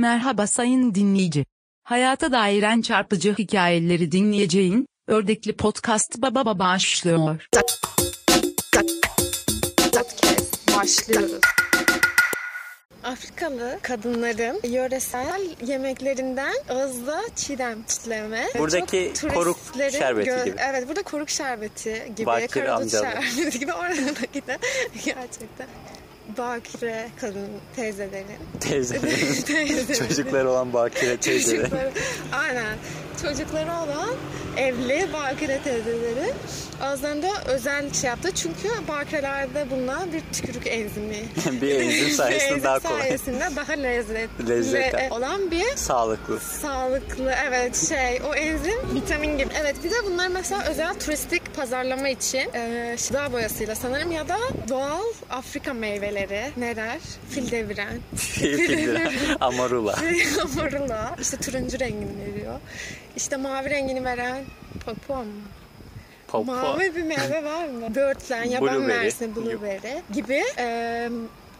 Merhaba sayın dinleyici. Hayata dairen çarpıcı hikayeleri dinleyeceğin Ördekli Podcast Baba Baba başlıyor. Podcast başlıyoruz. Afrikalı kadınların yöresel yemeklerinden ağızda çiğdem çitleme. Buradaki Çok koruk turistlerin şerbeti gö- gibi. Evet burada koruk şerbeti gibi. Bakire Bakire amcalar. şerbeti gibi oradaki de gerçekten. Bakire kadın teyzelerin. Teyzelerin teyzelerin. çocukları olan bakire teyzeleri. Çocukları, aynen. Çocukları olan evli bakire teyzeleri ağızlarında özel şey yaptı. Çünkü bakirelerde bulunan bir tükürük enzimi. bir enzim sayesinde Enzim daha kolay. sayesinde daha lezzet, Lezzetli. le- olan bir Sağlıklı. sağlıklı evet şey o enzim vitamin gibi. Evet bir de bunlar mesela özel turistik pazarlama için e, gıda boyasıyla sanırım ya da doğal Afrika meyveleri neler? Fil deviren. Filtre. Amarula. Marula. İşte turuncu rengini veriyor. İşte mavi rengini veren papua mı? Popo. Mavi bir meyve var mı? Börtlen, yaban Blueberry. mersini, blueberry gibi e,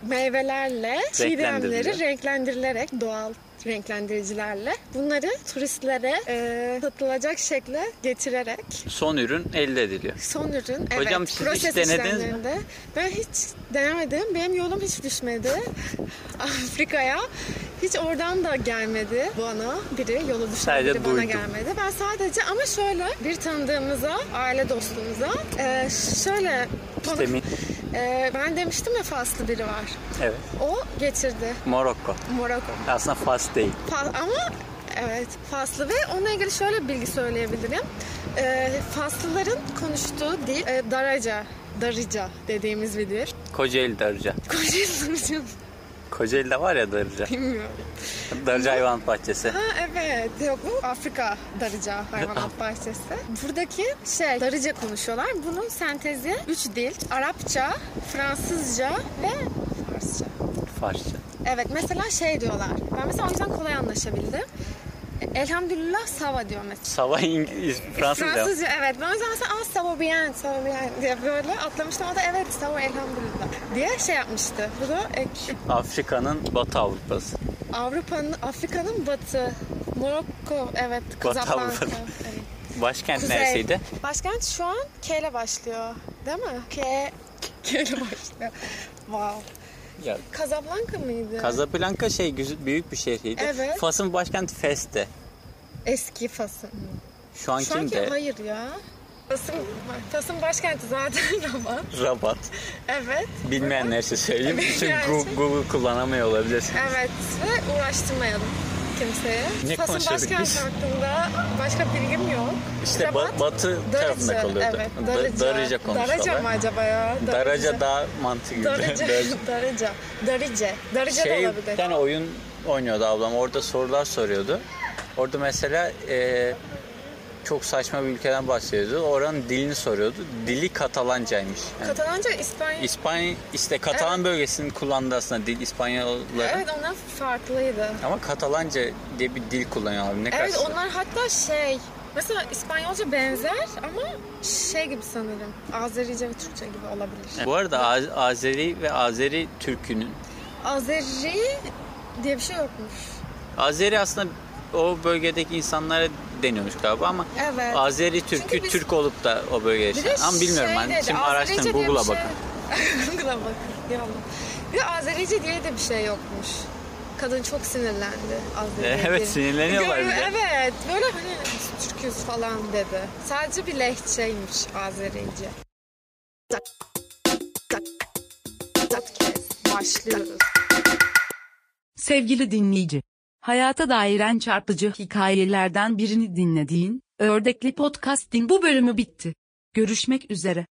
meyvelerle çiğdemleri Renklendiriliyor. renklendirilerek doğal renklendiricilerle bunları turistlere e, satılacak şekle getirerek Son ürün elde ediliyor. son ürün evet, Hocam siz hiç proses denediniz mi? işlemlerinde. Ben hiç denemedim. Benim yolum hiç düşmedi Afrika'ya. Hiç oradan da gelmedi bana biri yolu düşen Sadece biri bana duydum. gelmedi. Ben sadece ama şöyle bir tanıdığımıza, aile dostumuza e, şöyle Vitamin. E, ben demiştim ya Faslı biri var. Evet. O getirdi Morokko. Morocco. Aslında Fas değil. Fa- ama evet faslı ve onunla ilgili şöyle bir bilgi söyleyebilirim. Ee, faslıların konuştuğu dil e, daraca, darıca dediğimiz bir dil. Kocaeli Darıca. Konuşuyorsunuz Kocaeli'de var ya Darıca. bilmiyorum. Darıca Hayvan Bahçesi. Ha evet yok bu Afrika darıca hayvanat bahçesi. Buradaki şey darıca konuşuyorlar. Bunun sentezi 3 dil. Arapça, Fransızca ve Farsça. Farsça. Evet mesela şey diyorlar. Ben mesela o yüzden kolay anlaşabildim. Elhamdülillah sava diyor mesela. Sabah İngiliz, E, Fransızca. mı? Fransızca evet. Ben o yüzden mesela ah savo bien, savo bien diye böyle atlamıştım. O da evet savo elhamdülillah diye şey yapmıştı. Bu da ek- Afrika'nın Batı Avrupa'sı. Avrupa'nın, Afrika'nın batı. Morokko evet. Kazablanka. Avrupa. evet. Başkent Kuzey. neresiydi? Başkent şu an K ile başlıyor. Değil mi? K, K ile başlıyor. Wow. Ya, Casablanca mıydı? Casablanca şey güz- büyük bir şehriydi. Evet. Fas'ın başkenti Fes'te. Eski Fas'ın. Şu an Şu anki kimde? hayır ya. Fas'ın, Fas'ın başkenti zaten Rabat. Rabat. Evet. Bilmeyenlerse söyleyeyim. Çünkü Yani- Gu- Google kullanamıyor olabilirsin. Evet ve uğraştırmayalım kimseye. Ne Fas'ın konuşabiliriz? başkenti hakkında başka bilgim yok. İşte ba- Rabat, batı tarafında kalıyordu. Evet, Da- Darıca. Darıca konuşuyorlar. Darıca mı acaba ya? Daraca daha mantıklı. Darıca. Darıca. Darıca. Darıca. Darıca şey, da olabilir. bir tane oyun oynuyordu ablam. Orada sorular soruyordu. Orada mesela e, çok saçma bir ülkeden bahsediyordu. Oranın dilini soruyordu. Dili Katalancaymış. Yani Katalanca İspanya... İspanya işte Katalan bölgesinin kullandığı aslında dil İspanyolların. evet onlar farklıydı. Ama Katalanca diye bir dil kullanıyorlar. Ne kadar Evet onlar hatta şey... Mesela İspanyolca benzer ama şey gibi sanırım. Azerice ve Türkçe gibi olabilir. Bu arada Az- Azeri ve Azeri Türk'ünün Azeri diye bir şey yokmuş. Azeri aslında o bölgedeki insanlara deniyormuş galiba ama Evet. Azeri Türk'ü Çünkü biz- Türk olup da o bölgeye Bir de yaşayan. Ama bilmiyorum şey ben. dedi, Şimdi Azerice araştırın diye bir Google'a şey- bakın. Google'a bakın. Ya Allah. Bir de Azerice diye de bir şey yokmuş. Kadın çok sinirlendi Azerice. Evet, sinirleniyorlar bir de. Evet böyle hani "Biz Türküz falan dedi. Sadece bir lehçeymiş Azerice. Podcast başlıyoruz. Sevgili dinleyici, hayata dairen çarpıcı hikayelerden birini dinlediğin Ördekli Podcast'in bu bölümü bitti. Görüşmek üzere.